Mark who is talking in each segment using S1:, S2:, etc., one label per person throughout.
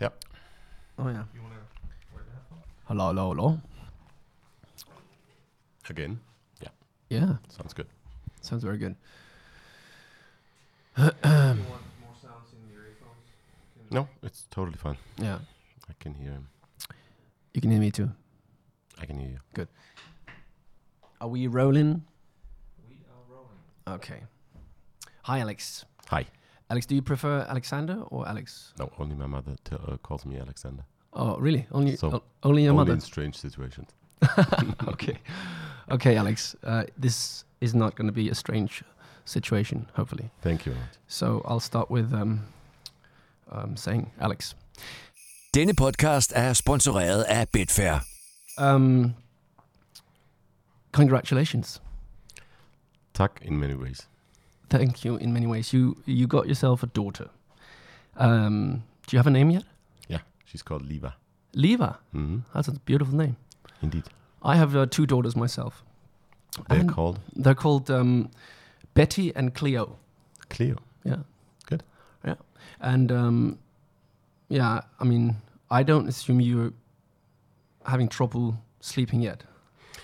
S1: Yep.
S2: Oh yeah.
S3: You want to?
S2: Hello, hello, hello.
S1: Again.
S2: Yeah,
S1: Sounds good.
S2: sounds very good.
S4: Øhm.
S3: you want more sounds in your earphones?
S1: No, it's totally fine.
S2: Yeah,
S1: I can hear him.
S2: you can hear me too.
S1: I can hear you.
S2: Are we rolling?
S3: We are rolling.
S2: Okay. Hi, Alex.
S1: Hi.
S2: Alex, do you prefer Alexander or Alex?
S1: No, only my mother t- uh, calls me Alexander.
S2: Oh, really? Only
S1: So,
S2: o- only your
S1: only
S2: mother.
S1: in strange situations.
S2: okay. Okay, Alex. Uh, this is not going to be a strange situation, hopefully.
S1: Thank you. Lars.
S2: So I'll start with um, um, saying Alex.
S4: Denne podcast er sponsoreret af Betfair.
S2: Um, congratulations.
S1: Tuck in many ways.
S2: Thank you in many ways. You you got yourself a daughter. Um, do you have a name yet?
S1: Yeah, she's called Liva.
S2: Leva.
S1: hmm
S2: That's a beautiful name.
S1: Indeed.
S2: I have uh, two daughters myself.
S1: They're
S2: And-
S1: called
S2: They're called um, Betty and Cleo.
S1: Cleo.
S2: Yeah.
S1: Good.
S2: Yeah. And um, yeah, I mean, I don't assume you're having trouble sleeping yet.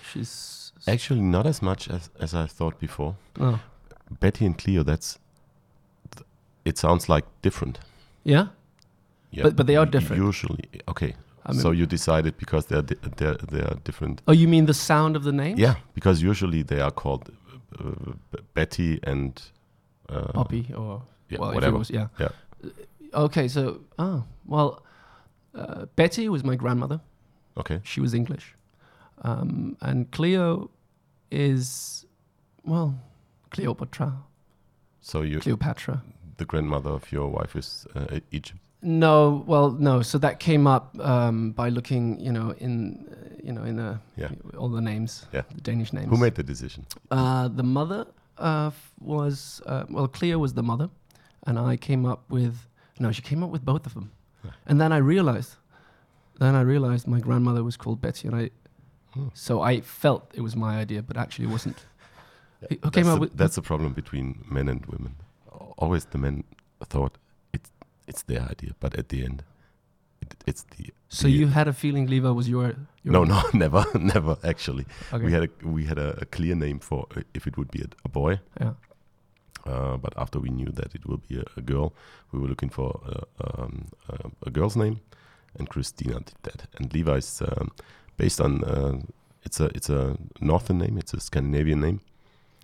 S2: She's
S1: Actually, not as much as, as I thought before.
S2: oh.
S1: Betty and Cleo, that's. th- It sounds like different.
S2: yeah.
S1: Yeah,
S2: But- but they are
S1: u-
S2: different.
S1: Usually, okay.
S2: I mean-
S1: so you decided because they're di- they're they are different.
S2: Oh, you mean the sound of the name?
S1: Yeah, because usually they are called uh, B- Betty and uh,
S2: Poppy or
S1: Yeah,
S2: well, if it
S1: whatever.
S2: was- yeah. Uh,
S1: Yeah.
S2: Okay, so oh well, uh, Betty was my grandmother.
S1: Okay,
S2: She was English, um, and Cleo is well Cleopatra,
S1: so you
S2: Cleopatra.
S1: the grandmother of your wife is uh, E- Egypt.
S2: No, well, no. So that came up um, by looking, you know, in uh, you know in a,
S1: Yeah.
S2: all the names,
S1: Yeah.
S2: the Danish names.
S1: Who made the decision?
S2: Uh, the mother uh, f- was uh, well, Cleo was the mother, and I came up with no, she came up with both of them,
S1: Yeah.
S2: and then I realized, then I realized my grandmother was called Betty, and I,
S1: Hmm.
S2: so I felt it was my idea, but actually it wasn't. Who who
S1: that's,
S2: came up
S1: the,
S2: with
S1: that's the problem between men and women. Al- Always the men thought it's it's their idea, but at the end, it, it's the
S2: So
S1: the-
S2: you had a feeling Leva was your, your
S1: no no never never actually
S2: okay.
S1: we had a we had a, a clear name for uh, if it would be a, a boy,
S2: yeah
S1: uh, but after we knew that it will be a, a girl, we were looking for a, um, a, a girl's name, and Christina did that. And Levi's um, based on uh, it's a it's a northern name, it's a Scandinavian name.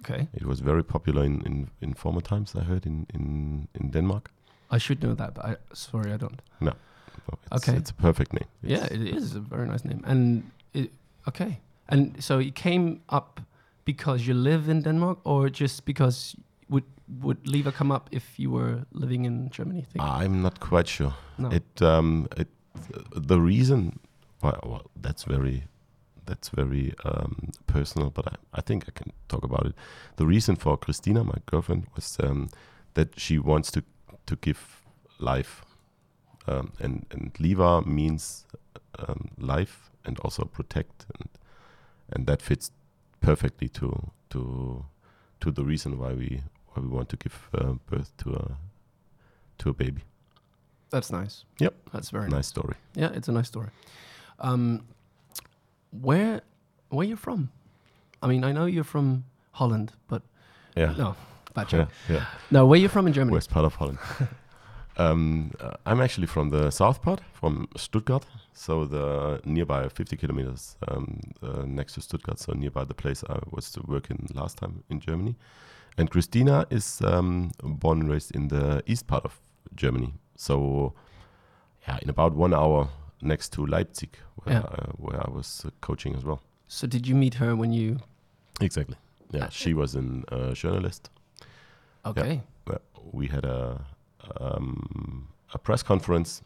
S2: okay
S1: It was very popular in, in, in former times. I heard in in, in Denmark.
S2: I should know that, but I sorry I don't.
S1: No, it's,
S2: Okay.
S1: it's a perfect name.
S2: Yeah,
S1: It's-
S2: it is a very nice name. And it, okay, and so it came up because you live in Denmark, or just because would would Leva come up if you were living in Germany? I think?
S1: I'm not quite sure.
S2: no.
S1: Ah, It um it the reason why well that's very that's very um, personal, but I, I think I can talk about it. The reason for Christina, my girlfriend, was um, that she wants to to give life, um, and and Liva means um, life and also protect, and and that fits perfectly to to to the reason why we why we want to give uh, birth to a to a baby.
S2: That's nice.
S1: Yep.
S2: that's very nice.
S1: Nice story.
S2: Yeah, it's a nice story. Um, where where you from? I mean, I know you're from Holland, but
S1: Yeah.
S2: no, bad
S1: Yeah,
S2: joke.
S1: yeah.
S2: No, where you from in Germany?
S1: West part of Holland. um, uh, I'm actually from the south part, from Stuttgart. So the nearby 50 kilometers um, uh, next to Stuttgart, so nearby the place I was to work in last time in Germany. And Christina is um, born and raised in the east part of Germany. So yeah, in about one hour next to Leipzig, where,
S2: Yeah.
S1: uh, where I was uh, coaching as well.
S2: So did you meet her when you?
S1: Exactly. Yeah, she was an uh, journalist.
S2: Okay.
S1: uh, we had a um, a press conference,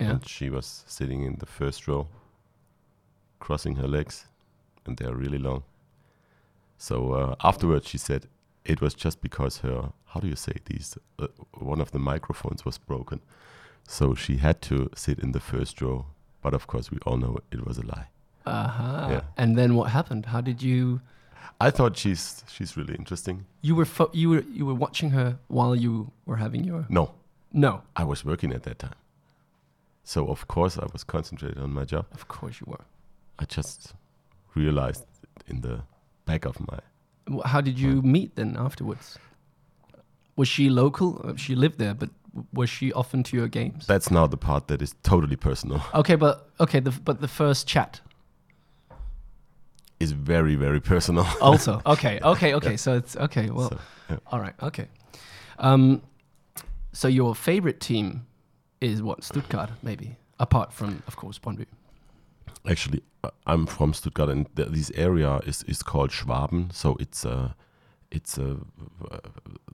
S2: Yeah.
S1: and she was sitting in the first row, crossing her legs, and they are really long. So uh, afterwards, she said it was just because her how do you say these uh, one of the microphones was broken, so she had to sit in the first row. But of course, we all know it was a lie.
S2: Uh huh.
S1: Yeah.
S2: And then what happened? How did you?
S1: I thought she's she's really interesting.
S2: You were fo- you were you were watching her while you were having your
S1: No,
S2: no.
S1: I was working at that time. So of course I was concentrated on my job.
S2: Of course you were.
S1: I just realized in the back of my
S2: Wh- How did you meet then afterwards? Was she local? Uh, She lived there, but w- was she often to your games?
S1: that's now the part that is totally personal.
S2: okay, but okay, the, f- but the first chat
S1: Is very very personal.
S2: also. okay, okay, okay. So it's okay. Well,
S1: So, yeah.
S2: all right. Okay. Um, so your favorite team is what Stuttgart, maybe apart from, of course, Brøndby.
S1: actually uh, I'm from Stuttgart and th- this area is is called Schwaben so it's a it's a uh,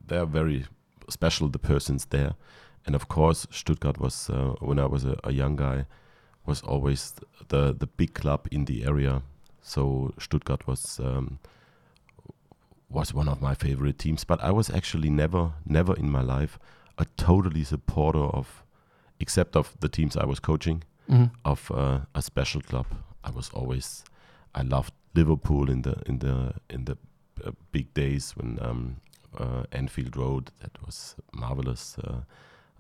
S1: they're very special the persons there and of course Stuttgart was uh, when I was a, a young guy was always the the big club in the area so Stuttgart was um, was one of my favorite teams but I was actually never never in my life a totally supporter of except of the teams I was coaching of uh, a special club. I was always I loved Liverpool in the in the in the uh, big days when um, uh, Anfield Road that was marvelous. Uh,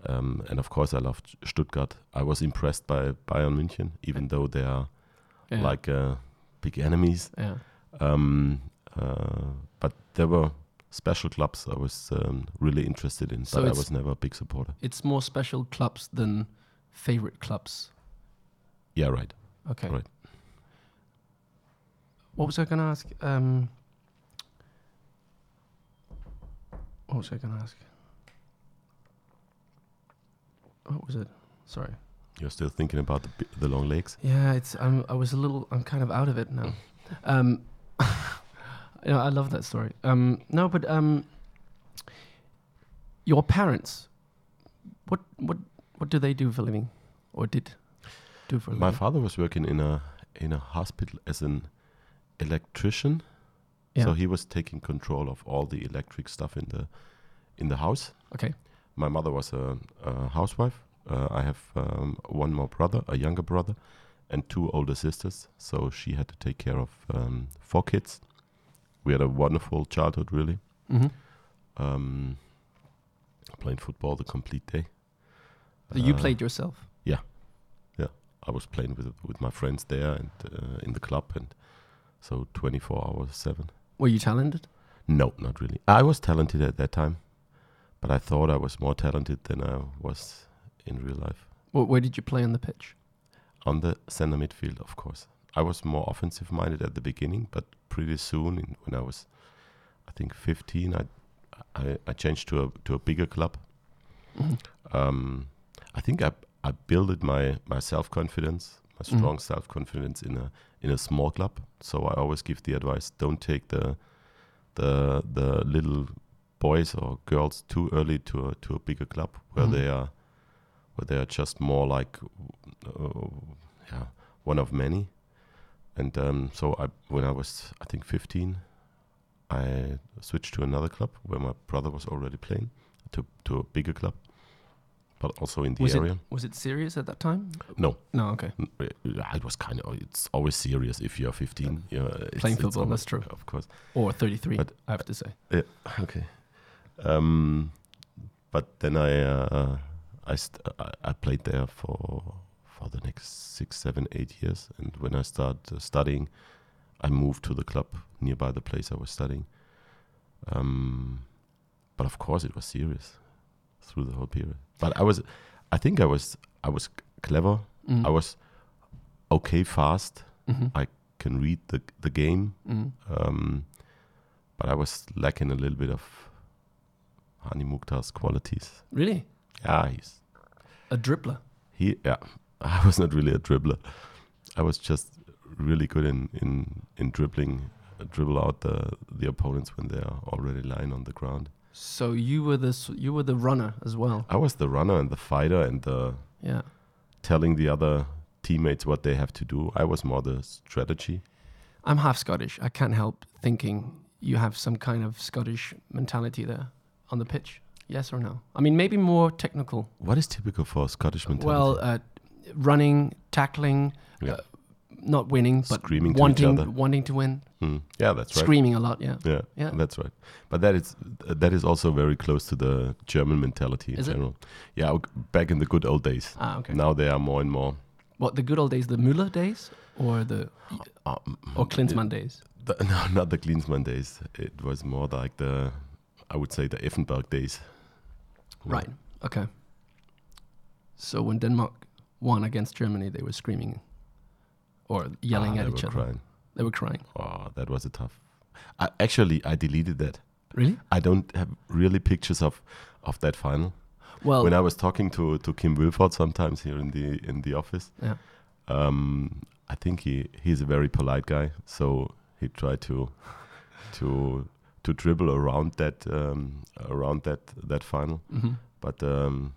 S1: um, and of course, I loved Stuttgart. I was impressed by Bayern München, even though they are
S2: Yeah.
S1: like uh, big enemies.
S2: yeah.
S1: Um, uh, but there were special clubs I was um, really interested in,
S2: So
S1: but I
S2: it's-
S1: was never a big supporter.
S2: It's more special clubs than favorite clubs.
S1: Yeah, right.
S2: Okay.
S1: Right.
S2: What was I going to ask? Um, what was I going to ask? What was it? Sorry.
S1: You're still thinking about the, bi- the long legs.
S2: Yeah, it's. I'm. I was a little. I'm kind of out of it now. Um, you know, I love that story. Um, no, but um, your parents, what what what do they do for a living, or did do for a
S1: My
S2: living?
S1: father was working in a in a hospital as an electrician, so he was taking control of all the electric stuff in the in the house.
S2: okay.
S1: My mother was a, a housewife. Uh, I have um, one more brother, a younger brother, and two older sisters. So she had to take care of um, four kids. We had a wonderful childhood, really.
S2: Mm-hmm.
S1: Um, playing football the complete day.
S2: So you
S1: Uh,
S2: played yourself.
S1: I was playing with with my friends there and uh, in the club, and so 24 hours seven.
S2: Were you talented?
S1: No, not really. I was talented at that time, but I thought I was more talented than I was in real life.
S2: Where, where did you play on the pitch?
S1: On the center midfield, of course, I was more offensive minded at the beginning, but pretty soon, in, when I was, I think 15, I I, I changed to a to a bigger club.
S2: Mhm.
S1: um, I think I I built my my self confidence, my
S2: Mhm.
S1: strong self confidence in a in a small club. So I always give the advice: don't take the the the little boys or girls too early to a, to a bigger club where
S2: Mhm.
S1: they are where they are just more like uh, yeah one of many. And um, so I when I was I think 15, I switched to another club where my brother was already playing to to a bigger club, but also in the
S2: Was
S1: area.
S2: it was it serious at that time?
S1: No.
S2: No. Okay.
S1: Mm, uh, yeah, it was kind of it's always serious if you're 15 yeah, it's,
S2: Playing
S1: it's
S2: football,
S1: always-
S2: that's true.
S1: of course
S2: Or 33,
S1: But-
S2: I have to say.
S1: okay um but then i uh, I, st- I i played there for for the next six seven eight years and when i started uh, studying i moved to the club nearby the place i was studying um but of course it was serious through the whole period but i was i think i was i was clever
S2: Mm.
S1: i was okay fast
S2: Mhm.
S1: I can read the the game,
S2: Mm.
S1: um, but I was lacking a little bit of Hani Mukhtar's qualities.
S2: Really?
S1: Yeah, he's
S2: A dribbler.
S1: he. Yeah, I was not really a dribbler. I was just really good in in in dribbling, uh, dribble out the the opponents when they are already lying on the ground.
S2: So you were the s- you were the runner as well.
S1: I was the runner and the fighter and the
S2: Yeah.
S1: telling the other teammates what they have to do. I was more the strategy.
S2: I'm half Scottish. I can't help thinking you have some kind of Scottish mentality there on the pitch. Yes or no? I mean, maybe more technical.
S1: What is typical for a Scottish mentality?
S2: Well, uh, running, tackling,
S1: Yeah.
S2: uh, not winning, but
S1: Screaming to each
S2: wanting
S1: other.
S2: wanting to win.
S1: Mm. Yeah, that's right.
S2: Screaming a lot, yeah.
S1: Yeah,
S2: Yeah.
S1: that's right. But that is that is also very close to the German mentality in
S2: Is it?
S1: general. Yeah, w- back in the good old days.
S2: Ah, okay.
S1: Now they are more and more.
S2: What the good old days, the Müller days, or the
S1: Um,
S2: or Klinsmann days?
S1: the- no, not the Klinsmann days. It was more like the, I would say, the Effenberg days.
S2: Right. Okay. So when Denmark won against Germany, they were screaming or yelling
S1: Ah,
S2: at
S1: they
S2: each
S1: were
S2: other.
S1: Crying.
S2: They were crying.
S1: Oh, that was a tough. I, actually, I deleted that.
S2: Really?
S1: I don't have really pictures of of that final.
S2: Well,
S1: When I was talking to to Kim Wilford sometimes here in the in the office,
S2: yeah.
S1: um, I think he he's a very polite guy, so he tried to to to dribble around that um, around that that final.
S2: hmm
S1: But um,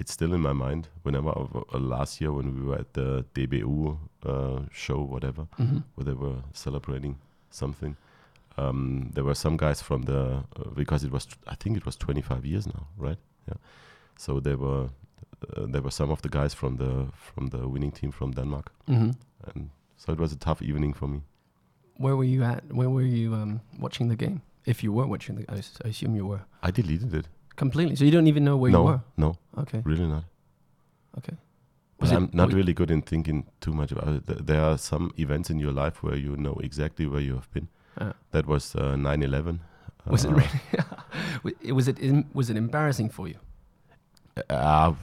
S1: it's still in my mind. Whenever uh, last year when we were at the DBU uh, show, whatever,
S2: hmm
S1: where they were celebrating something. Um, there were some guys from the uh, because it was I think it was 25 years now, right? Yeah. So there were uh, there were some of the guys from the from the winning team from Denmark,
S2: hmm
S1: and so it was a tough evening for me.
S2: Where were you at? Where were you um, watching the game? If you were watching the, I, s- I assume you were
S1: I deleted it.
S2: completely. So you don't even know where
S1: no,
S2: you were.
S1: no,
S2: Okay.
S1: really not.
S2: Okay.
S1: But
S2: it-
S1: I'm not
S2: wa-
S1: really good in thinking too much about it. Th- There are some events in your life where you know exactly where you have been.
S2: Yeah.
S1: That was uh, 9/11.
S2: Was it
S1: Uh,
S2: really? Wa- it- was it em- was it embarrassing for you,
S1: uh,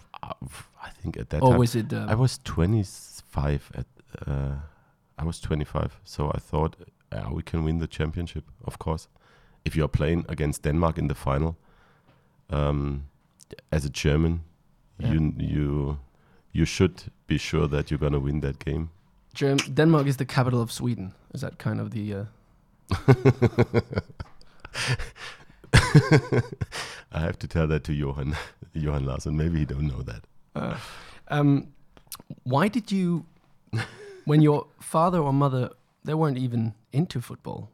S1: I think at that
S2: or
S1: time.
S2: was it? Um,
S1: I was 25 at uh, I was 25, so I thought uh, we can win the championship. Of course, if you are playing against Denmark in the final, um, as a German,
S2: Yeah.
S1: you you you should be sure that you're gonna win that game.
S2: Germ- Denmark is the capital of Sweden. Is that kind of the? Uh,
S1: I have to tell that to Johan Johan Larsen. Maybe he don't know that.
S2: Uh, um, why did you, when your father or mother, they weren't even into football?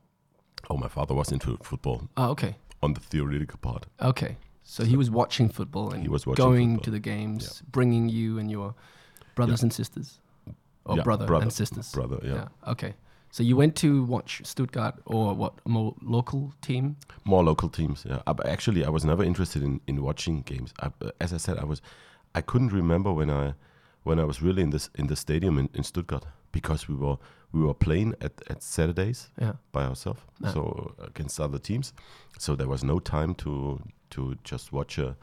S1: Oh, my father was into football
S2: Oh, okay,
S1: on the theoretical part.
S2: okay. So he was watching football and
S1: He was watching
S2: going
S1: football.
S2: to the games, bringing you and your brothers and sisters, or
S1: Yeah,
S2: brother,
S1: brother,
S2: and sisters.
S1: brother. Yeah.
S2: Okay. So you went to watch Stuttgart or what more local team?
S1: more local teams. Yeah, Uh, but actually, I was never interested in, in watching games. I, uh, as I said, I was I couldn't remember when I when I was really in this in the stadium in, in Stuttgart because we were we were playing at, at Saturdays
S2: Yeah.
S1: by ourselves,
S2: Ah.
S1: so against other teams. So there was no time to to just watch a.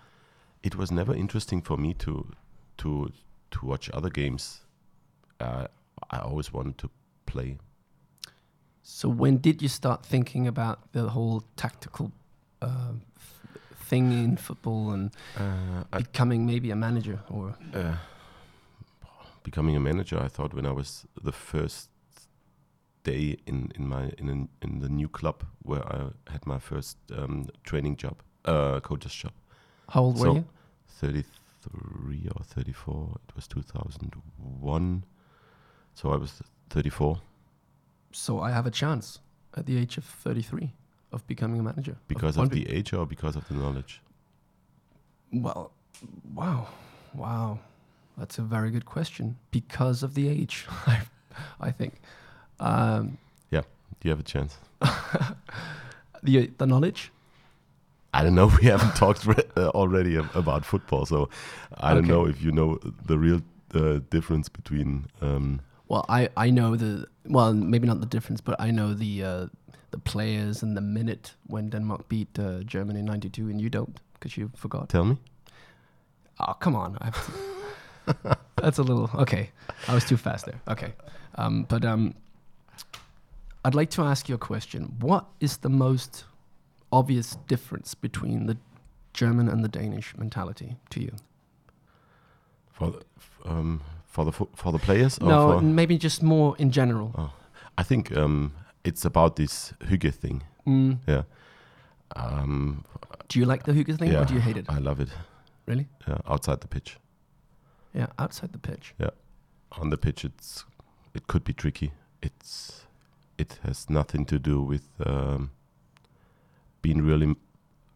S1: It was never interesting for me to to to watch other games. Uh, I always wanted to play.
S2: So when did you start thinking about the whole tactical uh, th- thing in football and
S1: Uh, I
S2: becoming maybe a manager or
S1: uh, becoming a manager, I thought when I was the first day in in my in an, in the new club where I had my first um, training job, uh, coach's job,
S2: how old
S1: So-
S2: were you?
S1: thirty three or thirty four. It was two thousand one, so I was thirty four.
S2: So I have a chance at the age of 33 of becoming a manager.
S1: Because
S2: one
S1: of
S2: be-
S1: the age or because of the knowledge?
S2: well, wow, wow, that's a very good question. Because of the age, I, I think um,
S1: Do you have a chance?
S2: the the knowledge.
S1: I don't know. We haven't talked re- uh, already ab- about football, so I don't
S2: Okay.
S1: know if you know the real uh, difference between um,
S2: Well, I, I know the well maybe not the difference, but I know the uh, the players and the minute when Denmark beat uh, Germany in '92, and you don't because you forgot.
S1: Tell me.
S2: Oh, come on. I have to- That's a little okay. I was too fast there. Okay, um, but um, I'd like to ask you a question. What is the most obvious difference between the German and the Danish mentality to you?
S1: For the, f- um, for the fo- for the players.
S2: no,
S1: Or Oh, for,
S2: n- maybe just more in general.
S1: I think um, it's about this hygge thing.
S2: Mm,
S1: Yeah. Um,
S2: do you like the hygge thing,
S1: yeah,
S2: or do you hate it?
S1: I love it.
S2: really?
S1: Yeah, outside the pitch,
S2: Yeah, outside the pitch.
S1: on the pitch, it's it could be tricky. It's it has nothing to do with um, being really m-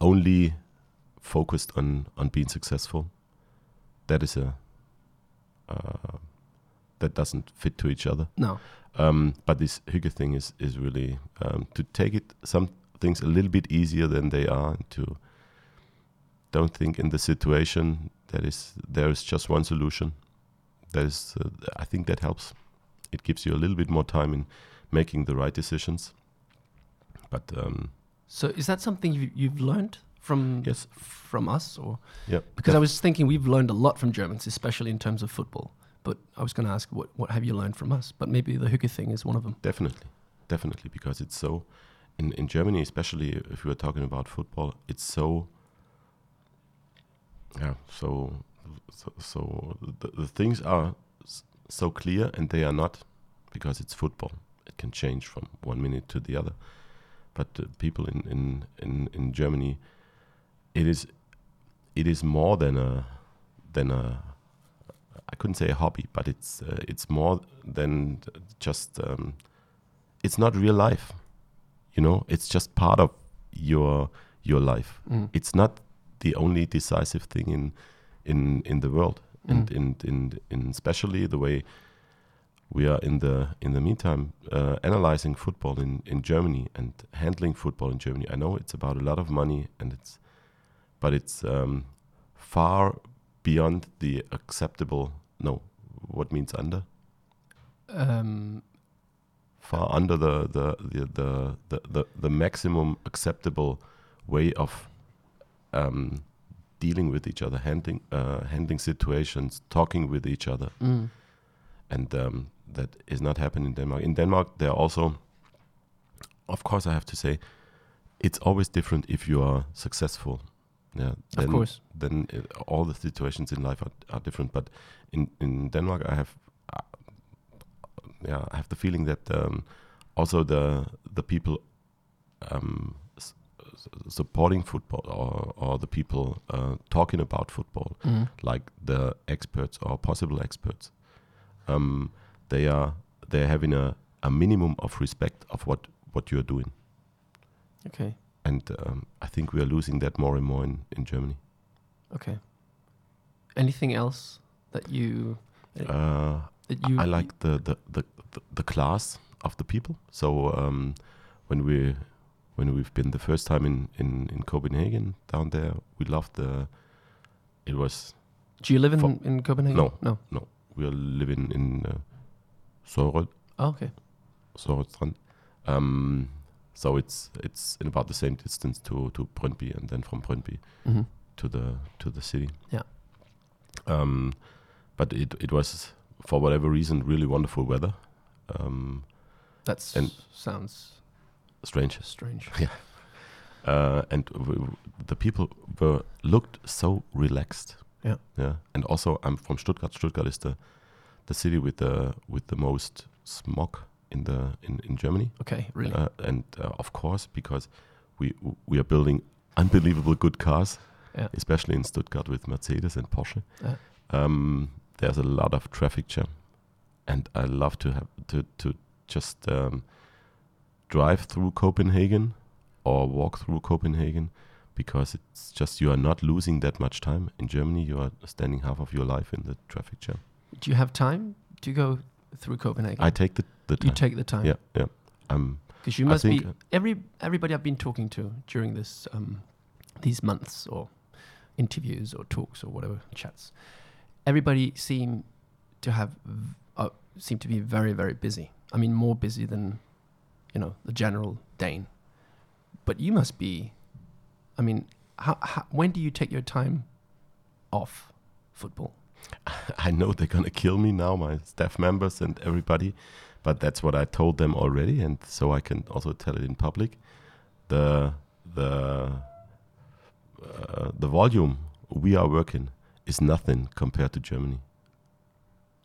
S1: only focused on on being successful. That is a uh, that doesn't fit to each other.
S2: No.
S1: Um, but this hygge thing is is really um, to take it some things a little bit easier than they are. And to don't think in the situation that is there is just one solution. That is, uh, I think that helps. It gives you a little bit more time in making the right decisions. But um,
S2: So is that something you, you've learned from
S1: Yes.
S2: from us or
S1: yeah,
S2: because I was thinking we've learned a lot from Germans, especially in terms of football. But I was going to ask what what have you learned from us? But maybe the hooker thing is one of them.
S1: Definitely, definitely, because it's so. In in Germany, especially if we are talking about football, it's so. Yeah, so so, so the, the things are s- so clear, and they are not, because it's football. It can change from one minute to the other, but uh, people in in in in Germany, it is, it is more than a, than a. I couldn't say a hobby, but it's uh, it's more than just um, it's not real life you know it's just part of your your life
S2: Mm.
S1: it's not the only decisive thing in in in the world and in, in in especially the way we are in the in the meantime uh, analyzing football in in Germany and handling football in Germany I know it's about a lot of money and it's but it's um, far beyond the acceptable no what means under
S2: Um,
S1: far under the the the the, the, the, the maximum acceptable way of um, dealing with each other, handling uh, handling situations, talking with each other,
S2: mm,
S1: and um, that is not happening in Denmark. In Denmark, there are also, of course, I have to say, it's always different if you are successful. Yeah,
S2: of
S1: then-
S2: course.
S1: then it, all the situations in life are, are different. But in, in Denmark, I have uh, yeah, I have the feeling that um, also the the people um, s- s- supporting football or, or the people uh, talking about football
S2: Mm.
S1: like the experts or possible experts, um, they are they're having a, a minimum of respect of what what you are doing,
S2: Okay.
S1: and um, I think we are losing that more and more in, in Germany.
S2: Okay. Anything else that you
S1: Uh,
S2: that
S1: I-
S2: you
S1: I like the the, the the the class of the people. So um, when we when we've been the first time in, in, in Copenhagen down there, we loved the. It was
S2: Do you live in,
S1: for-
S2: in Copenhagen?
S1: No.
S2: No.
S1: we are living in uh, Sørød,
S2: Oh, okay.
S1: Sørødstrand. Um, so it's it's in about the same distance to to Brøndby, and then from Brøndby
S2: hmm
S1: to the to the city.
S2: Yeah.
S1: Um, but it it was for whatever reason really wonderful weather. Um,
S2: That
S1: And-
S2: sounds
S1: strange.
S2: strange.
S1: uh, and w- w- the people were looked so relaxed.
S2: Yeah.
S1: yeah. And also, I'm from Stuttgart. Stuttgart is the the city with the with the most smog in the in, in Germany.
S2: Okay, really.
S1: Uh, and uh, of course, because we we are building unbelievable good cars,
S2: Yeah.
S1: especially in Stuttgart with Mercedes and Porsche.
S2: Yeah.
S1: Um, there's a lot of traffic jam, and I love to have to to just um, drive through Copenhagen or walk through Copenhagen because it's just you are not losing that much time in Germany. You are standing half of your life in the traffic jam.
S2: Do you have time to go through Copenhagen?
S1: I take the the
S2: you
S1: time.
S2: take the time.
S1: yeah, yeah. I'm
S2: Because you
S1: I
S2: must be
S1: think- uh,
S2: every everybody I've been talking to during this um, these months or interviews or talks or whatever chats, everybody seem to have v- uh, seem to be very very busy. I mean, more busy than you know the general Dane. But you must be. I mean, how, how, when do you take your time off football?
S1: I know they're gonna kill me now, my staff members and everybody, but that's what I told them already, and so I can also tell it in public. The the uh, the volume we are working is nothing compared to Germany.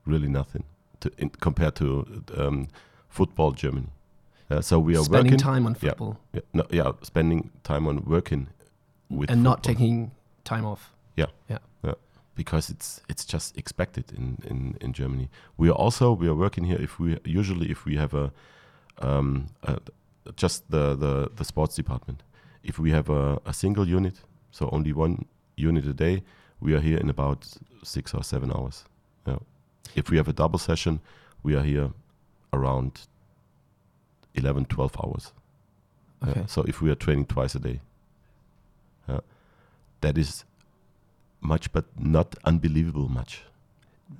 S1: Really nothing to in, compared to um, football Germany. Uh, so we are
S2: Spending
S1: working.
S2: time on football
S1: Yeah, no, yeah, spending time on working with
S2: and not
S1: football
S2: taking time off.
S1: because it's it's just expected in in in Germany. We are also we are working here if we usually if we have a um uh just the the the sports department. If we have a, a single unit, so only one unit a day, we are here in about six or seven hours. if we have a double session, we are here around 11, 12 hours. Yeah,
S2: Okay.
S1: So if we are training twice a day, yeah, that is much, but not unbelievable much.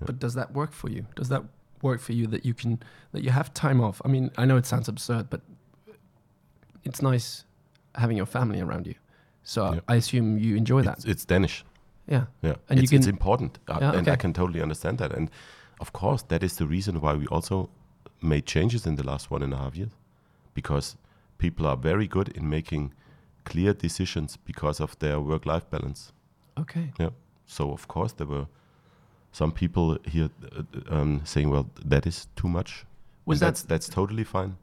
S2: But does that work for you? Does that work for you that you can that you have time off? I mean, I know it sounds absurd, but it's nice having your family around you. So
S1: Yeah.
S2: I assume you enjoy
S1: It's, uh,
S2: that.
S1: it's Danish.
S2: Yeah.
S1: Yeah,
S2: And you
S1: it's, it's
S2: can-
S1: important, uh,
S2: Yeah,
S1: and I
S2: okay.
S1: can totally understand that. And of course, that is the reason why we also made changes in the last one and a half years, because people are very good in making clear decisions because of their work-life balance.
S2: Okay.
S1: So of course, there were some people here uh, um, saying, "Well, that is too much."
S2: Was
S1: And that's
S2: that
S1: that's totally fine.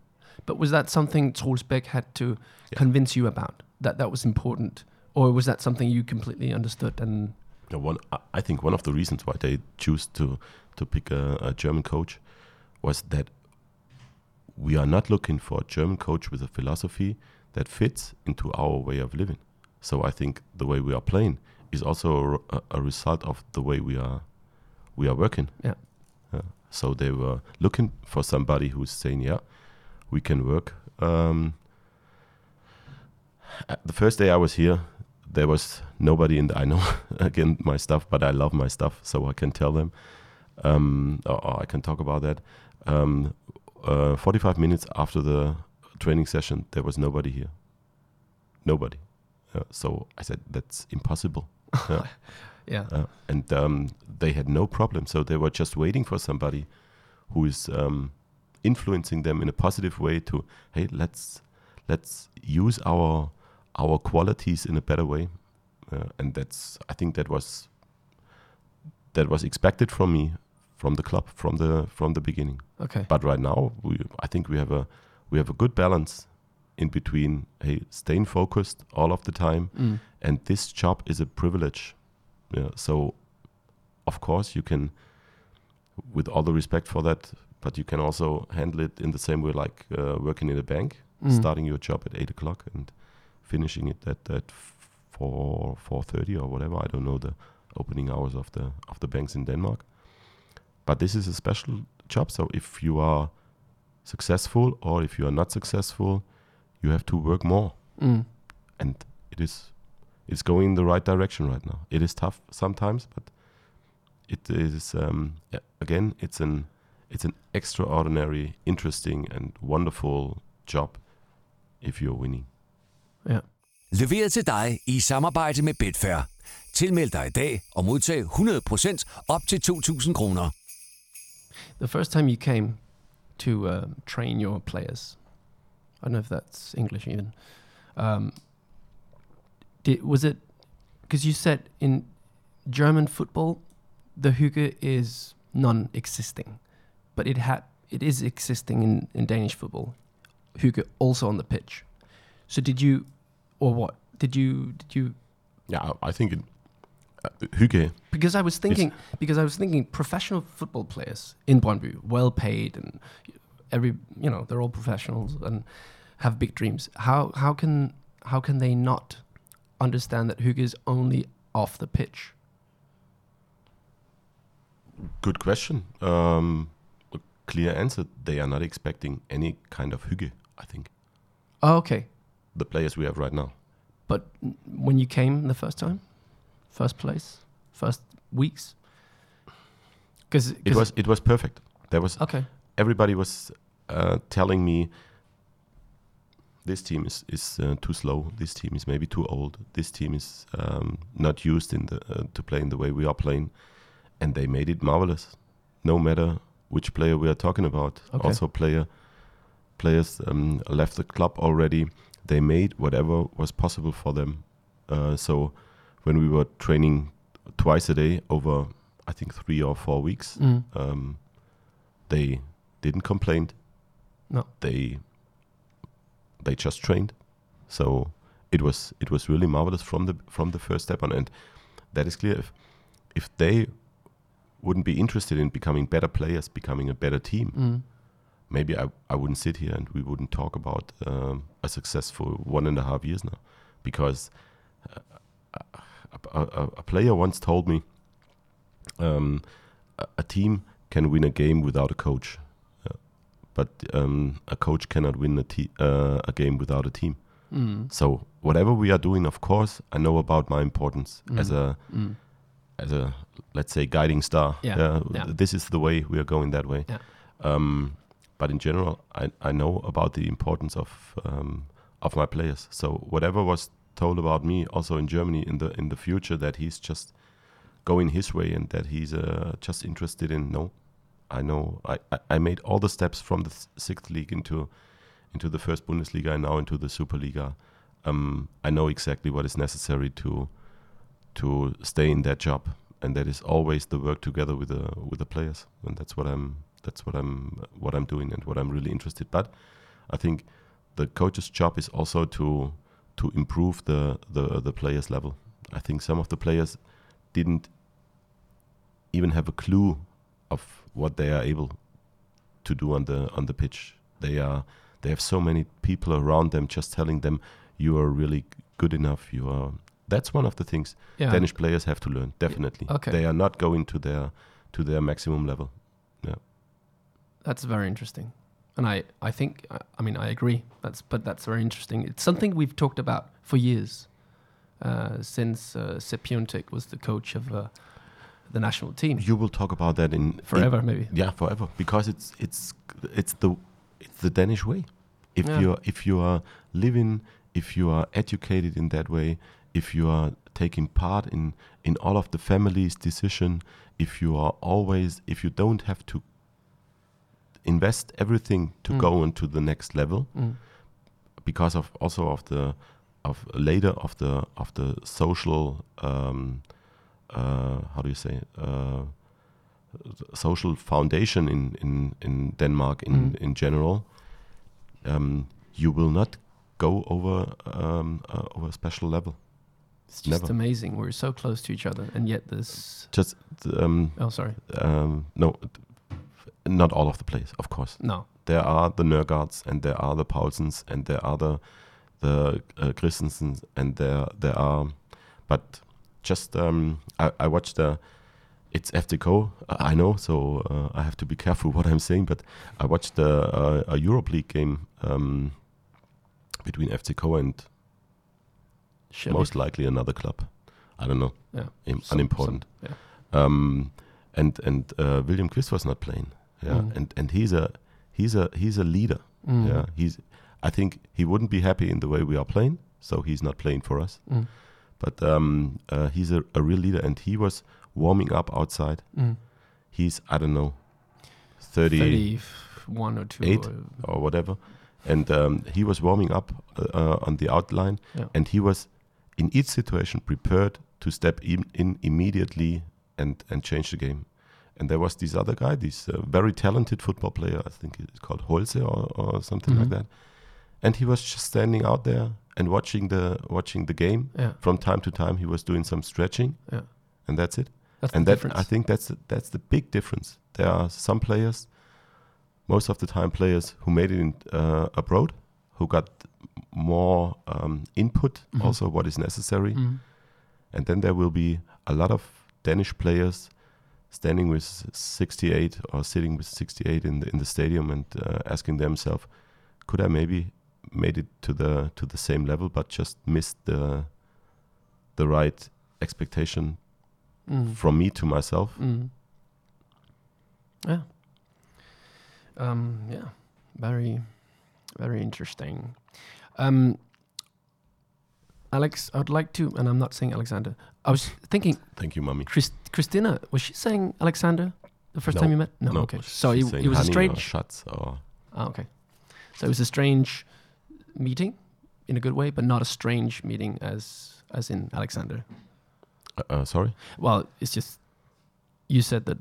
S2: but was that something Troels Beck had to
S1: Yeah.
S2: convince you about that that was important, or was that something you completely understood and
S1: Yeah, one, I- I think one of the reasons why they choose to to pick a, a German coach was that we are not looking for a German coach with a philosophy that fits into our way of living. So I think the way we are playing is also a r- a, a result of the way we are we are working.
S2: Yeah.
S1: Yeah. So they were looking for somebody who's saying, "Yeah, we can work." Um, uh, the first day I was here, there was nobody in the, I know again my stuff, but I love my stuff, so I can tell them, um, or, or I can talk about that. Um, uh, 45 minutes after the training session, there was nobody here. Nobody. Uh, so I said, that's impossible.
S2: yeah?
S1: Uh, and um, they had no problem. So they were just waiting for somebody who is um, influencing them in a positive way to, hey, let's let's use our our qualities in a better way. Uh, and that's I think that was that was expected from me from the club from the from the beginning.
S2: Okay.
S1: But right now, we I think we have a we have a good balance in between hey staying focused all of the time
S2: Mm.
S1: and this job is a privilege. Yeah, so, of course, you can, with all the respect for that, but you can also handle it in the same way like uh, working in a bank,
S2: Mm.
S1: starting your job at eight o'clock and finishing it at at four four thirty or whatever. I don't know the opening hours of the of the banks in Denmark, but this is a special job. So if you are successful or if you are not successful, you have to work more
S2: Mm.
S1: and it is it's going in the right direction right now. It is tough sometimes, but it is um, a- again it's an it's an extraordinary, interesting, and wonderful job if you're winning.
S4: Leveret til dig i samarbejde med Betfair. Tilmeld dig i dag og modtag 100% op til 2.000 kroner.
S2: The first time you came to uh, train your players, I don't know if that's English even. Um, did, was it because you said in German football the hygge is non-existing, but it had it is existing in, in Danish football. Hygge also on the pitch. So did you, or what did you did you
S1: Yeah, I, I think it, uh, Hygge.
S2: because I was thinking, because I was thinking, professional football players in Brøndby, well paid, and every you know they're all professionals and have big dreams. How how can how can they not understand that Hygge is only off the pitch?
S1: Good question. Um, a clear answer. They are not expecting any kind of Hygge. I think
S2: Oh, okay,
S1: the players we have right now.
S2: but n- when you came the first time, first place, first weeks, because
S1: It was it was perfect. There was
S2: okay,
S1: everybody was uh, telling me this team is is uh, too slow. This team is maybe too old. This team is um, not used in the uh, to play in the way we are playing, and they made it marvelous. No matter which player we are talking about,
S2: Okay.
S1: also player players um, left the club already. They made whatever was possible for them. Uh, so when we were training twice a day over, I think three or four weeks,
S2: mm.
S1: um, they didn't complain.
S2: No.
S1: They they just trained. So it was it was really marvelous from the from the first step on, and that is clear. If if they wouldn't be interested in becoming better players, becoming a better team,
S2: Mm.
S1: maybe I, I wouldn't sit here and we wouldn't talk about um, a successful one and a half years now, because uh, a, a, a- a player once told me um, a, a team can win a game without a coach, uh, but um, a coach cannot win a, te- uh, a game without a team.
S2: Mm.
S1: So whatever we are doing, of course, I know about my importance as
S2: Mhm.
S1: a
S2: Mm.
S1: as a let's say guiding star.
S2: Yeah,
S1: Uh,
S2: yeah.
S1: This is the way we are going that way.
S2: Yeah.
S1: Um, but in general, I, I know about the importance of um, of my players. So whatever was told about me, also in Germany in the in the future, that he's just going his way and that he's uh, just interested in no. I know I, I, I made all the steps from the s- sixth league into into the first Bundesliga and now into the Superliga. Um, I know exactly what is necessary to to stay in that job, and that is always the work together with the with the players, and that's what I'm that's what I'm what I'm doing and what I'm really interested. But I think the coach's job is also to to improve the the the players level. I think some of the players didn't even have a clue of what they are able to do on the on the pitch. They are they have so many people around them just telling them you are really good enough. You are that's one of the things
S2: Yeah.
S1: Danish players have to learn. Definitely,
S2: okay.
S1: they are not going to their to their maximum level.
S2: That's very interesting, and I I think I, I mean I agree. That's but that's very interesting. It's something we've talked about for years, uh, since uh, Sepiontek was the coach of uh, the national team
S1: You will talk about that in
S2: forever, maybe.
S1: in- yeah, forever, because it's it's it's the it's the Danish way. If
S2: Yeah.
S1: you are if you are living, if you are educated in that way, if you are taking part in in all of the family's decision, if you are always if you don't have to invest everything to
S2: Mm.
S1: go into the next level,
S2: Mm.
S1: because of also of the of later of the of the social um, uh, how do you say uh, social foundation in in in Denmark in
S2: Mm.
S1: in general. Um, you will not go over um, uh, over a special level.
S2: It's just
S1: Never.
S2: amazing. We're so close to each other, and yet this.
S1: Just um,
S2: Oh, sorry.
S1: um, no, not all of the players, of course.
S2: No.
S1: there are the Nergards and there are the Paulsens and there are the the uh, Christensens and there there are, but just um, I, I watched uh, it's FTCO I I know so uh, I have to be careful what I'm saying but I watched uh, a, a Europe League game um, between FTCO and
S2: Shall we-
S1: most likely another club I don't know
S2: Yeah.
S1: Im-
S2: Some-
S1: unimportant
S2: some- yeah.
S1: um, and and uh, William Quist was not playing yeah
S2: Mm.
S1: and and he's a he's a he's a leader
S2: Mm.
S1: yeah, he's. I think he wouldn't be happy in the way we are playing, so he's not playing for us.
S2: Mm.
S1: But um, uh, he's a, a real leader, and he was warming up outside.
S2: Mm.
S1: He's I don't know, 30,
S2: Thirty-one or two.
S1: eight?
S2: or-
S1: or whatever, and um, he was warming up uh, uh, on the outline,
S2: Yeah.
S1: and he was in each situation prepared to step in, in immediately and and change the game. And there was this other guy, this uh, very talented football player, I think it's called Holze or, or something like
S2: Mhm.
S1: that, and he was just standing out there and watching the watching the game.
S2: yeah.
S1: From time to time, he was doing some stretching,
S2: Yeah.
S1: and that's it
S2: That's
S1: and
S2: the
S1: that
S2: difference.
S1: I think that's the, that's the big difference. There are some players, most of the time players who made it in, uh, abroad, who got more um, input,
S2: Mhm.
S1: also what is necessary,
S2: Mm.
S1: and then there will be a lot of Danish players standing with 68 or sitting with 68 in the in the stadium and uh, asking themselves, could I maybe made it to the to the same level, but just missed the the right expectation
S2: Mm.
S1: from me to myself.
S2: Mm. Yeah. Um, yeah. Very, very interesting. Um, Alex, I'd like to, and I'm not saying Alexander. I was thinking,
S1: Thank you, mummy.
S2: Chris, Christina, was she saying Alexander the first
S1: No.
S2: time you met? No.
S1: No,
S2: okay.
S1: she's
S2: So it,
S1: saying
S2: it was a
S1: honey uh, Or
S2: strange.
S1: shots or
S2: Ah, okay. So it was a strange meeting, in a good way, but not a strange meeting as as in Alexander.
S1: uh, uh, sorry,
S2: Well, it's just you said that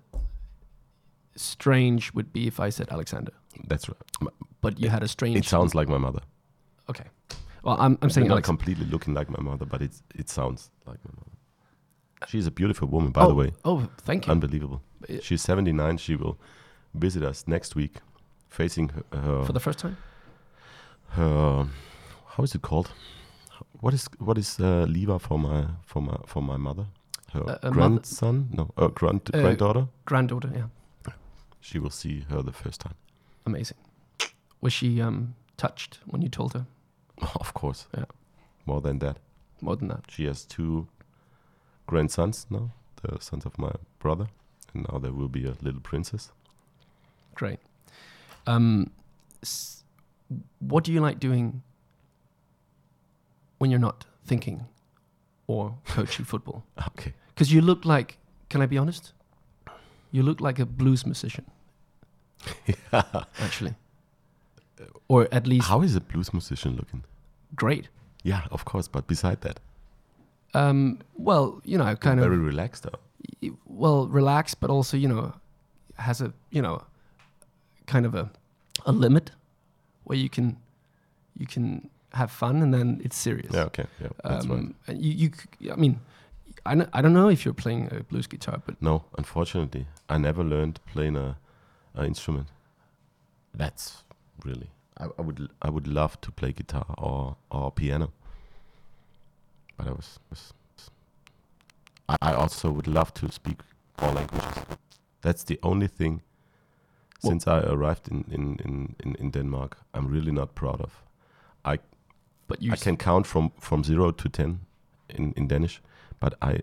S2: strange would be if I said Alexander,
S1: that's right.
S2: but you had a strange.
S1: It sounds like my mother.
S2: okay. Well, I'm I'm saying
S1: not
S2: Alex.
S1: completely looking like my mother, but it's it sounds like my mother. She's a beautiful woman, by
S2: Uh, oh,
S1: the way.
S2: Oh, thank you.
S1: Unbelievable.
S2: Uh,
S1: She's 79. She will visit us next week, facing her. her,
S2: For the first time.
S1: her- how is it called? What is what is uh, Liva for my for my for my mother? Her
S2: Uh, a mother-
S1: grandson? No, uh, grand
S2: Uh,
S1: granddaughter.
S2: Granddaughter, yeah.
S1: she will see her the first time.
S2: Amazing. Was she um, touched when you told her?
S1: of course.
S2: Yeah.
S1: More than that.
S2: More than that.
S1: She has two grandsons now, the sons of my brother, and now there will be a little princess.
S2: Great. Um, s- what do you like doing when you're not thinking or coaching football?
S1: Okay.
S2: Because you look like, can I be honest? You look like a blues musician, actually. Or at least
S1: How is a blues musician looking?
S2: great.
S1: Yeah, of course. But beside that,
S2: Um, well, you know, kind of
S1: very relaxed. Though.
S2: well relaxed, but also you know has a you know kind of a a limit where you can you can have fun and then it's serious. Um,
S1: Yeah. Okay. Yeah. That's right.
S2: and You, you, c- I mean, I, kn- I don't know if you're playing a blues guitar, but
S1: No, unfortunately, I never learned playing a, a instrument. That's really. I, I would I would love to play guitar or or piano. But I was. was I, I also would love to speak four languages. That's the only thing.
S2: Well-
S1: Since I arrived in, in, in, in, in Denmark, I'm really not proud of. I
S2: but you
S1: I can count from from zero to ten in in Danish, but I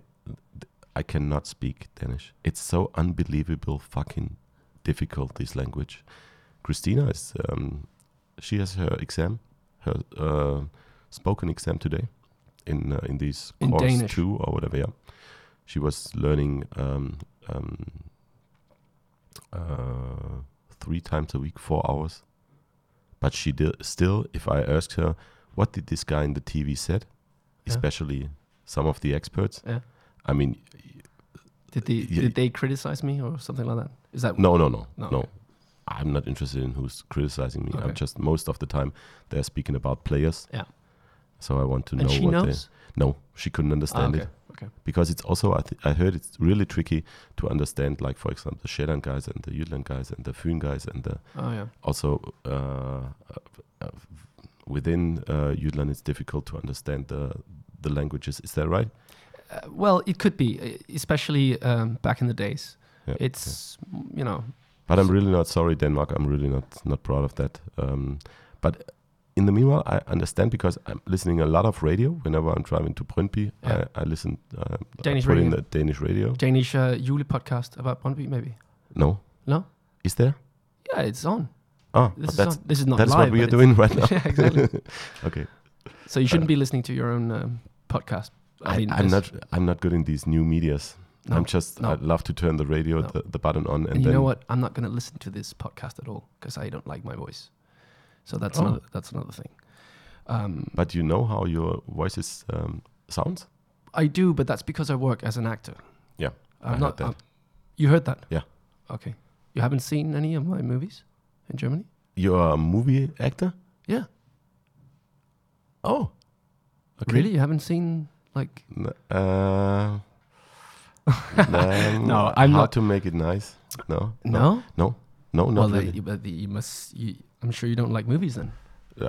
S1: I cannot speak Danish. It's so unbelievable fucking difficult this language. Christina is um, she has her exam, her uh, spoken exam today in uh, in these
S2: In
S1: course
S2: Danish.
S1: two or whatever. Yeah, she was learning um, um, uh, three times a week, four hours. But she did still. If I asked her, what did this guy in the TV said,
S2: Yeah.
S1: especially some of the experts.
S2: Yeah.
S1: I mean,
S2: did they
S1: y-
S2: did they criticize me or something like that? Is that
S1: no, no, no,
S2: No,
S1: no.
S2: okay.
S1: I'm not interested in who's criticizing me.
S2: Okay.
S1: I'm just most of the time they're speaking about players.
S2: Yeah.
S1: So I want to
S2: And
S1: know
S2: she
S1: what
S2: knows.
S1: they. No, she couldn't
S2: Ah,
S1: understand
S2: okay.
S1: it
S2: Okay.
S1: because it's also I, th- I heard it's really tricky to understand. Like for example, the Shedan guys and the Jutland guys and the Fün guys and the
S2: Oh yeah.
S1: also uh, uh, uh, within uh, Jutland it's difficult to understand the the languages. Is that right?
S2: Uh, well, it could be, e- especially um, back in the days.
S1: Yeah,
S2: It's mm, you know
S1: But I'm really not sorry, Denmark. I'm really not not proud of that. Um, but in the meanwhile, I understand because I'm listening a lot of radio whenever I'm driving to Brøndby.
S2: Yeah.
S1: I, I listen uh,
S2: Danish
S1: I put in
S2: radio.
S1: the Danish radio.
S2: Danish uh, Yule podcast about Brøndby, maybe.
S1: No,
S2: No.
S1: is there?
S2: Yeah, it's on.
S1: Ah,
S2: This is
S1: that's
S2: on. This is not
S1: that's
S2: live.
S1: what we
S2: but
S1: are
S2: it's-
S1: doing right now.
S2: yeah, exactly.
S1: okay,
S2: So you shouldn't be listening to your own um, podcast.
S1: I
S2: mean,
S1: am
S2: this-
S1: not I'm not good in these new medias.
S2: No,
S1: I'm just
S2: no.
S1: I love to turn the radio
S2: No.
S1: the, the button on and
S2: And, you
S1: then
S2: know what? I'm not going to listen to this podcast at all because I don't like my voice. So that's
S1: Oh.
S2: another, that's another thing. Um,
S1: But you know how your voices um, sounds?
S2: I do, but that's because I work as an actor.
S1: Yeah, I
S2: I'm
S1: heard
S2: not.
S1: that.
S2: I'm- you heard that?
S1: Yeah.
S2: Okay. You haven't seen any of my movies in Germany?
S1: You're a movie actor?
S2: Yeah.
S1: Oh,
S2: Really? You haven't seen like?
S1: N- Uh, um,
S2: No, I'm
S1: how
S2: not-
S1: to make it nice. No,
S2: No.
S1: no, no,
S2: well,
S1: not
S2: they-
S1: really.
S2: you, but the- you must. You, I'm sure you don't like movies then.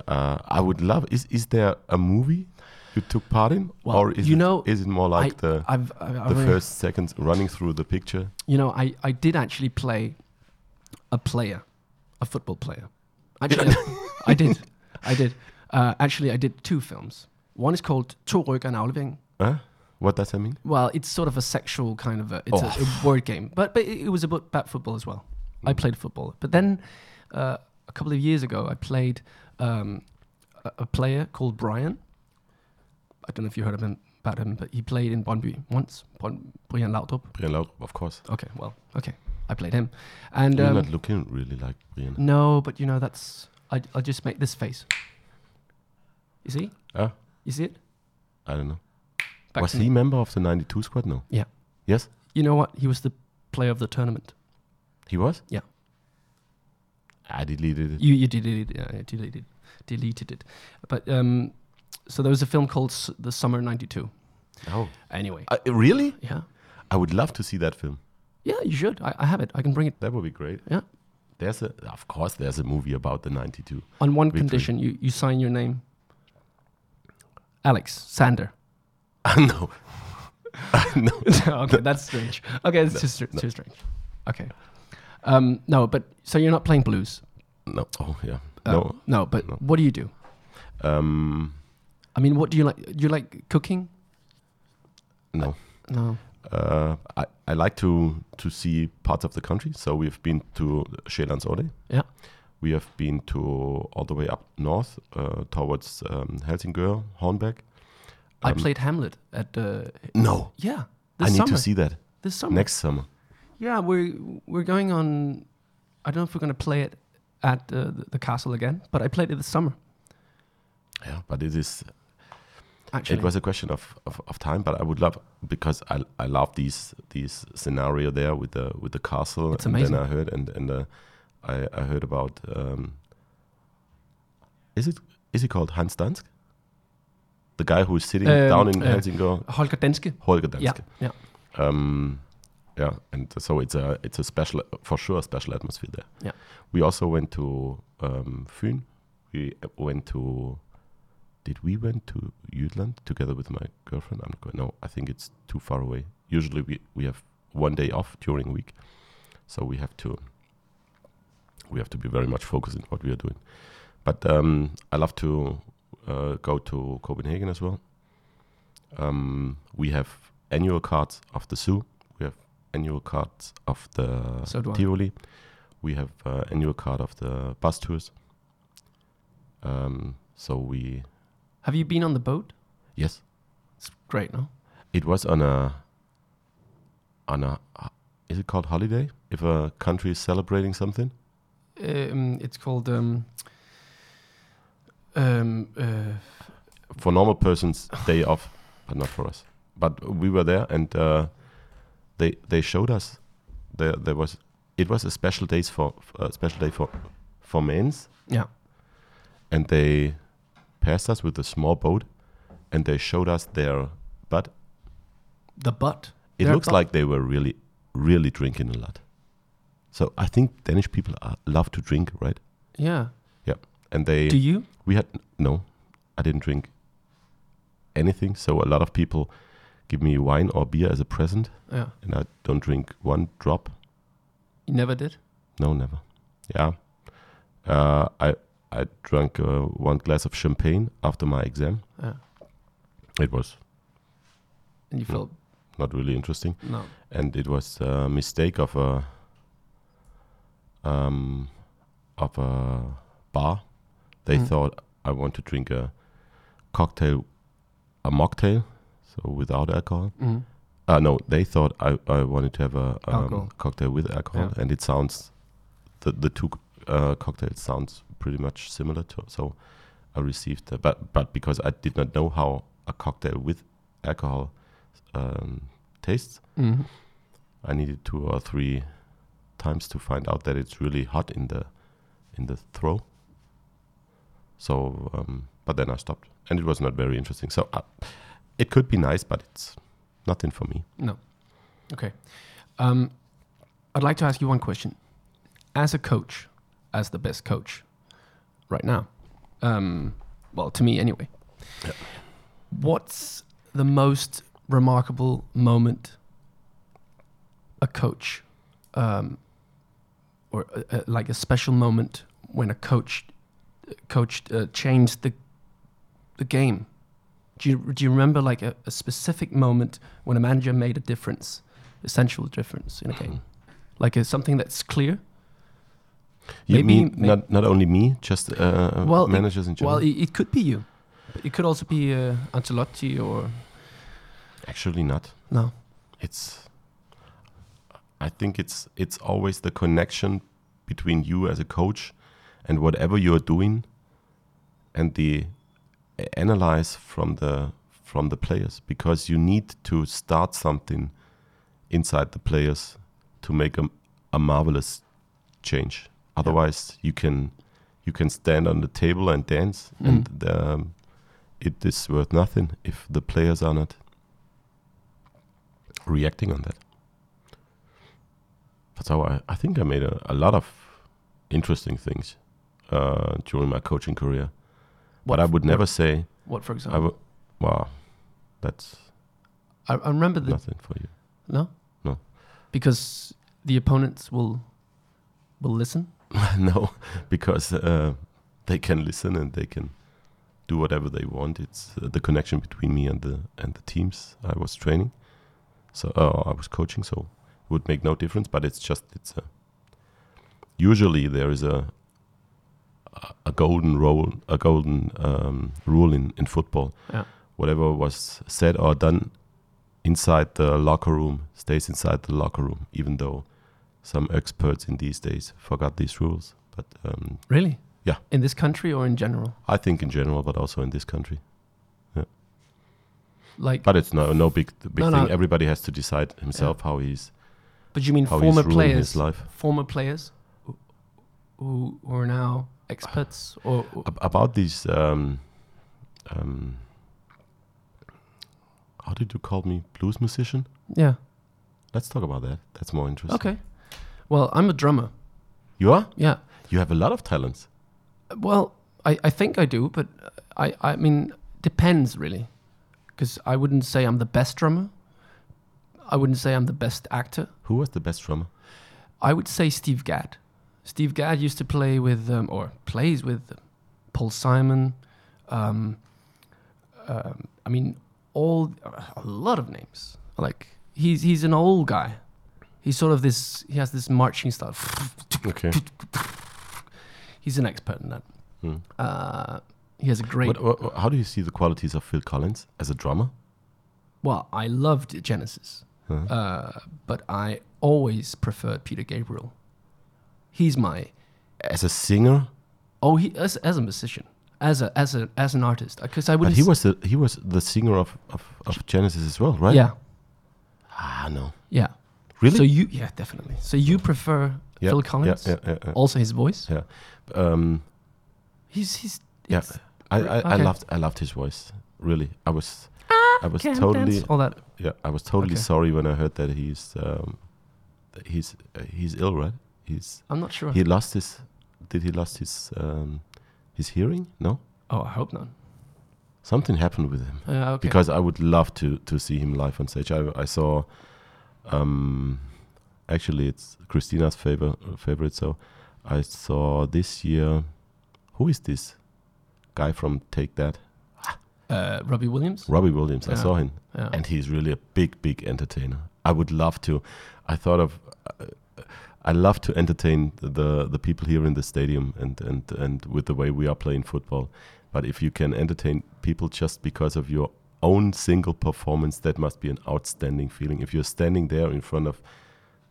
S1: Uh, I would love. Is is there a movie you took part in,
S2: Well,
S1: or is
S2: you
S1: it,
S2: know,
S1: is it more like
S2: I,
S1: the
S2: I've, I've, I've
S1: the
S2: already-
S1: first seconds running through the picture?
S2: You know, I, I did actually play a player, a football player. Actually, I did. I did. Uh, actually, I did two films. One is called Torøk and Aflevering.
S1: Huh? What does that mean?
S2: Well, it's sort of a sexual kind of a, it's a,
S1: Oh.
S2: a word game, but, but it, it was about, about football as well. I
S1: Mm.
S2: played football. But then uh, a couple of years ago, I played um, a, a player called Brian. I don't know if you heard of him, about him, but he played in Brøndby once, Brøn- Brian Laudrup.
S1: Brian Laudrup, of course.
S2: Okay, well, okay. I played him. And
S1: You're
S2: um,
S1: not looking really like Brian.
S2: no, but you know, that's. I, I'll just make this face. You see?
S1: Huh?
S2: You see it?
S1: I don't know.
S2: Back
S1: was
S2: to
S1: he
S2: me.
S1: member of the '92 squad? No.
S2: Yeah.
S1: Yes,
S2: You know what? He was the player of the tournament.
S1: he was.
S2: Yeah.
S1: I deleted it.
S2: You, you deleted, yeah, I deleted, deleted it. But um, so there was a film called S- The Summer 92.
S1: Oh,
S2: Anyway.
S1: uh, really?
S2: Yeah.
S1: I would love to see that film.
S2: Yeah, you should. I, I have it. I can bring it.
S1: That would be great.
S2: Yeah.
S1: There's a, of course, there's a movie about the '92.
S2: On one
S1: Victory.
S2: condition you, you sign your name Alex Sander.
S1: Ah, no, no.
S2: okay, that's strange. Okay, it's too, str- too strange. Okay. Um, no, but so you're not playing blues.
S1: No. Oh yeah.
S2: Uh,
S1: no.
S2: no. But
S1: no.
S2: what do you do?
S1: Um.
S2: I mean, what do you like? You like cooking?
S1: No.
S2: No.
S1: Uh, I, I like to to see parts of the country. So we've been to Sjællandsodde.
S2: Yeah.
S1: We have been to all the way up north uh, towards um, Helsingør, Hornbeck.
S2: I
S1: Um,
S2: played Hamlet at uh,
S1: No,
S2: yeah
S1: I
S2: this
S1: need
S2: summer.
S1: to see that
S2: this summer.
S1: next summer.
S2: Yeah, we're we're going on. I don't know if we're gonna play it at uh, the, the castle again, but I played it this summer.
S1: Yeah, but it is.
S2: Actually,
S1: It was a question of, of, of time, but I would love because I I love these these scenario there with the with the castle.
S2: It's
S1: and
S2: amazing.
S1: Then I heard and and uh, I I heard about. Um, is it is he called Hans Dansk? The guy who is sitting
S2: Um,
S1: down in
S2: uh,
S1: Helsingør,
S2: Holger Danske.
S1: Holger Dansk.
S2: Yeah, yeah.
S1: Um, yeah, and so it's a it's a special for sure a special atmosphere there.
S2: Yeah.
S1: we also went to um, Fyn. We went to. Did we went to Jutland together with my girlfriend? I'm not going. No, I think it's too far away. Usually we we have one day off during week, so we have to. We have to be very much focused in what we are doing, but um, I love to uh, go to Copenhagen as well. Um, we have annual cards of the zoo. We have annual cards of the
S2: So do I.
S1: Tivoli. We have uh, annual card of the bus tours. Um, so we
S2: Have you been on the boat?
S1: yes,
S2: It's great, no?
S1: it was on a on a is it called holiday if a country is celebrating something?
S2: Um, it's called um, um, uh,
S1: for normal persons day off, but not for us. But we were there, and uh, they they showed us there there was it was a special days for a special day for for men's.
S2: Yeah.
S1: And they passed us with a small boat, and they showed us their butt.
S2: the butt.
S1: It
S2: Their
S1: looks
S2: butt.
S1: like they were really really drinking a lot. So I think Danish people are, love to drink, right?
S2: Yeah.
S1: And they
S2: Do you?
S1: we had no i didn't drink anything so a lot of people give me wine or beer as a present
S2: Yeah.
S1: and i don't drink one drop
S2: You never did.
S1: no never yeah uh, i i drank uh, one glass of champagne after my exam
S2: Yeah.
S1: it was
S2: And you felt
S1: not really interesting
S2: no.
S1: and it was a mistake of a um of a bar they
S2: Mm.
S1: thought i want to drink a cocktail a mocktail so without alcohol
S2: Mm.
S1: uh no they thought i i wanted to have a
S2: Alcohol.
S1: um, cocktail with alcohol
S2: Yeah.
S1: and it sounds the the two uh, cocktails sounds pretty much similar to so i received uh, but but because i did not know how a cocktail with alcohol um tastes
S2: Mm.
S1: I needed two or three times to find out that it's really hot in the in the throw. So, um, but then I stopped, and it was not very interesting. So, uh, it could be nice, but it's nothing for me.
S2: No. Okay. Um, I'd like to ask you one question. As a coach, as the best coach right now, um, well, to me anyway, what's the most remarkable moment a coach, um, or uh, uh, like a special moment when a coach, coach uh, changed the, the game? Do you, do you remember like a, a specific moment when a manager made a difference, essential difference in a game? Like is something that's clear?
S1: You
S2: Maybe-
S1: mean
S2: may-
S1: not not only me, just uh,
S2: Well, it-
S1: managers in general.
S2: Well, it, it could be you. But it could also be uh, Ancelotti or
S1: Actually, not.
S2: no.
S1: It's. I think it's it's always the connection between you as a coach and whatever you're doing, and the a- analyze from the from the players because you need to start something inside the players to make a, a marvelous change. Otherwise, you can you can stand on the table and dance, and um, it is worth nothing if the players are not reacting on that. That's how I, I think I made a, a lot of interesting things uh, during my coaching career.
S2: What
S1: but I
S2: f-
S1: would
S2: what- Oh.
S1: never say
S2: What, for example?
S1: I would. Wow, that's
S2: I, I remember the
S1: nothing for you.
S2: no,
S1: No.
S2: because the opponents will will listen?
S1: no, because uh, they can listen and they can do whatever they want. It's uh, the connection between me and the and the teams I was training, so uh, I was coaching. So it would make no difference. But it's just it's a. Usually there is a a- a golden rule, a golden um, rule in in football.
S2: Yeah.
S1: Whatever was said or done inside the locker room stays inside the locker room, even though some experts in these days forgot these rules. But um,
S2: Really?
S1: Yeah.
S2: In this country or in general?
S1: I think in general, but also in this country.
S2: Like, but,
S1: But it's no no big big
S2: No, no.
S1: thing. Everybody has to decide himself how he's
S2: you mean
S1: how
S2: former
S1: he's ruling
S2: players?
S1: his life.
S2: Former players who- who are now experts or or-
S1: Ab- about these, um, um, how did you call me blues musician?
S2: yeah.
S1: Let's talk about that. That's more interesting.
S2: Okay. Well, I'm a drummer.
S1: You are.
S2: Yeah.
S1: You have a lot of talents.
S2: Well, I, I think I do, but I, I mean, depends really. Because I wouldn't say I'm the best drummer. I wouldn't say I'm the best actor.
S1: Who was the best drummer?
S2: I would say Steve Gadd. Steve Gadd used to play with, um, or plays with, um, Paul Simon. Um, um, I mean, all a lot of names. Like he's he's an old guy. He's sort of this. He has this marching style.
S1: Okay.
S2: He's an expert in that.
S1: Hmm.
S2: Uh, he has a great.
S1: What, what, what- how do you see the qualities of Phil Collins as a drummer?
S2: well, I loved Genesis,
S1: Uh-huh.
S2: uh, but I always preferred Peter Gabriel. He's my
S1: As a singer,
S2: oh he as, as a musician as a as a as an artist because I would
S1: but he was the he was the singer of, of, of Genesis as well, right?
S2: yeah
S1: Ah no,
S2: yeah
S1: really?
S2: so you yeah definitely so you prefer
S1: yeah,
S2: Phil
S1: yeah,
S2: Collins Oh.
S1: Yeah, yeah, yeah.
S2: also his voice
S1: yeah. Um,
S2: he's he's
S1: yeah.
S2: it's-
S1: I, I, I
S2: okay. Ah,
S1: loved I loved his voice. Really, I was I was
S2: can't
S1: totally
S2: dance, all that
S1: yeah I was totally
S2: Okay.
S1: sorry when I heard that he's um, that he's uh, he's ill, right? He's
S2: I'm not sure
S1: he lost his did he lost his um, his hearing? No,
S2: oh I hope not
S1: something happened with him.
S2: uh, okay
S1: because I would love to to see him live on stage. I, I saw, um, actually, it's Christina's favor favorite. So I saw this year. Who is this guy from Take That?
S2: uh, Robbie Williams
S1: Robbie Williams. I
S2: Yeah.
S1: saw him,
S2: yeah.
S1: and he's really a big, big entertainer. I would love to. I thought of. Uh, I love to entertain the the people here in the stadium and and and with the way we are playing football. But if you can entertain people just because of your own single performance, that must be an outstanding feeling. If you're standing there in front of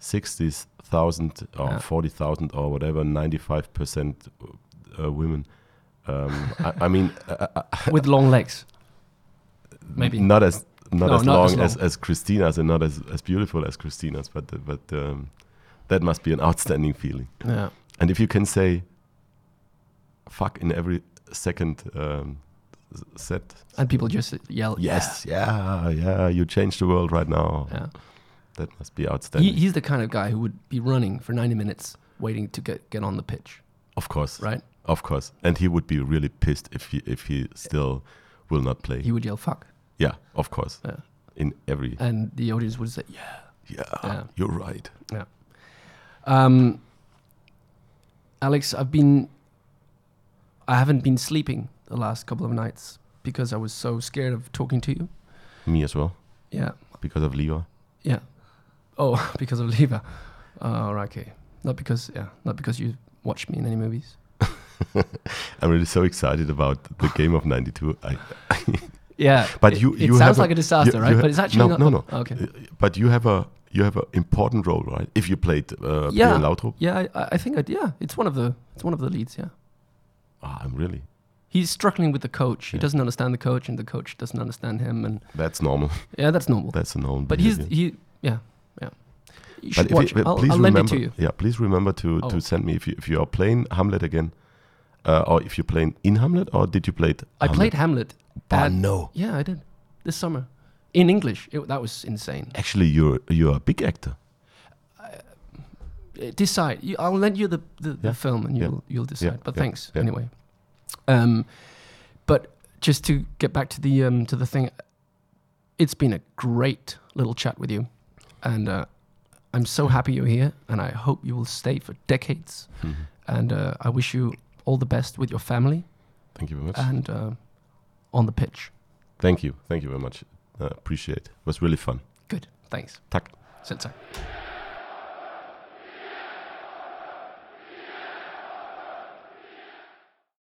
S1: sixty thousand or
S2: Yeah.
S1: forty thousand or whatever, ninety five percent uh, women. Um, I, I mean, uh, uh,
S2: with long legs Maybe.
S1: not as not,
S2: No,
S1: as,
S2: not
S1: long
S2: as
S1: as as
S2: long.
S1: Christina's and not as, as beautiful as Christina's, but uh, but um, that must be an outstanding feeling.
S2: yeah
S1: And if you can say "fuck" in every second um, s- set,
S2: and people just yell
S1: yes, yeah, yeah, you change the world right now.
S2: yeah
S1: That must be
S2: he,
S1: outstanding.
S2: he's the kind of guy who would be running for 90 minutes waiting to get get on the pitch
S1: of course,
S2: right
S1: of course. And he would be really pissed if he if he still will not play.
S2: he would yell fuck
S1: yeah, of course.
S2: Yeah.
S1: In every
S2: and the audience would say yeah
S1: yeah,
S2: Yeah.
S1: you're right.
S2: Um, Alex, I've been, I haven't been sleeping the last couple of nights because I was so scared of talking to you.
S1: Me as well
S2: Yeah,
S1: because of Leo.
S2: yeah. Oh, because of Leva. Oh, right, okay. Not because, yeah, not because you watched me in any movies.
S1: I'm really so excited about the game of '92. I,
S2: Yeah,
S1: But
S2: it,
S1: you-
S2: it
S1: you
S2: sounds
S1: have a-
S2: like a disaster,
S1: you-
S2: right?
S1: you ha-
S2: but it's actually
S1: no,
S2: not.
S1: no, Uh, no.
S2: Okay.
S1: but you have a you have an important role, right? If you played uh,
S2: Yeah.
S1: Pio Lautrup,
S2: Yeah, I- I, I think I, yeah, it's one of the, it's one of the leads. Yeah,
S1: ah, I'm really
S2: he's struggling with the coach. He
S1: Yeah.
S2: doesn't understand the coach, and the coach doesn't understand him. And
S1: that's normal.
S2: yeah, that's normal.
S1: That's a normal.
S2: But he's
S1: behavior.
S2: he yeah yeah. You
S1: But
S2: should
S1: if you-
S2: watch. it.
S1: but
S2: I'll,
S1: please
S2: I'll lend
S1: remember,
S2: it to you.
S1: yeah, please remember to,
S2: Oh.
S1: to send me if you if you are playing Hamlet again, uh, or if you're playing in Hamlet, or did you play? it
S2: I
S1: Hamlet?
S2: played Hamlet.
S1: Ah,
S2: at-
S1: no,
S2: Yeah, I did this summer in English. It, that was insane.
S1: actually, you're you're a big actor.
S2: Uh, Decide. You, I'll lend you the, the,
S1: Yeah.
S2: the film and
S1: Yeah.
S2: you'll you'll decide. But
S1: Yeah.
S2: thanks
S1: Yeah.
S2: anyway. Um, but just to get back to the um to the thing, it's been a great little chat with you, and uh, I'm so happy you're here, and I hope you will stay for decades.
S1: Mhm.
S2: And uh, I wish you all the best with your family
S1: Thank you very much.
S2: and uh, on the pitch.
S1: Thank you. Thank you very much. Uh, appreciate. It was really fun.
S2: Good. Thanks.
S1: Tack.
S2: Selv tak.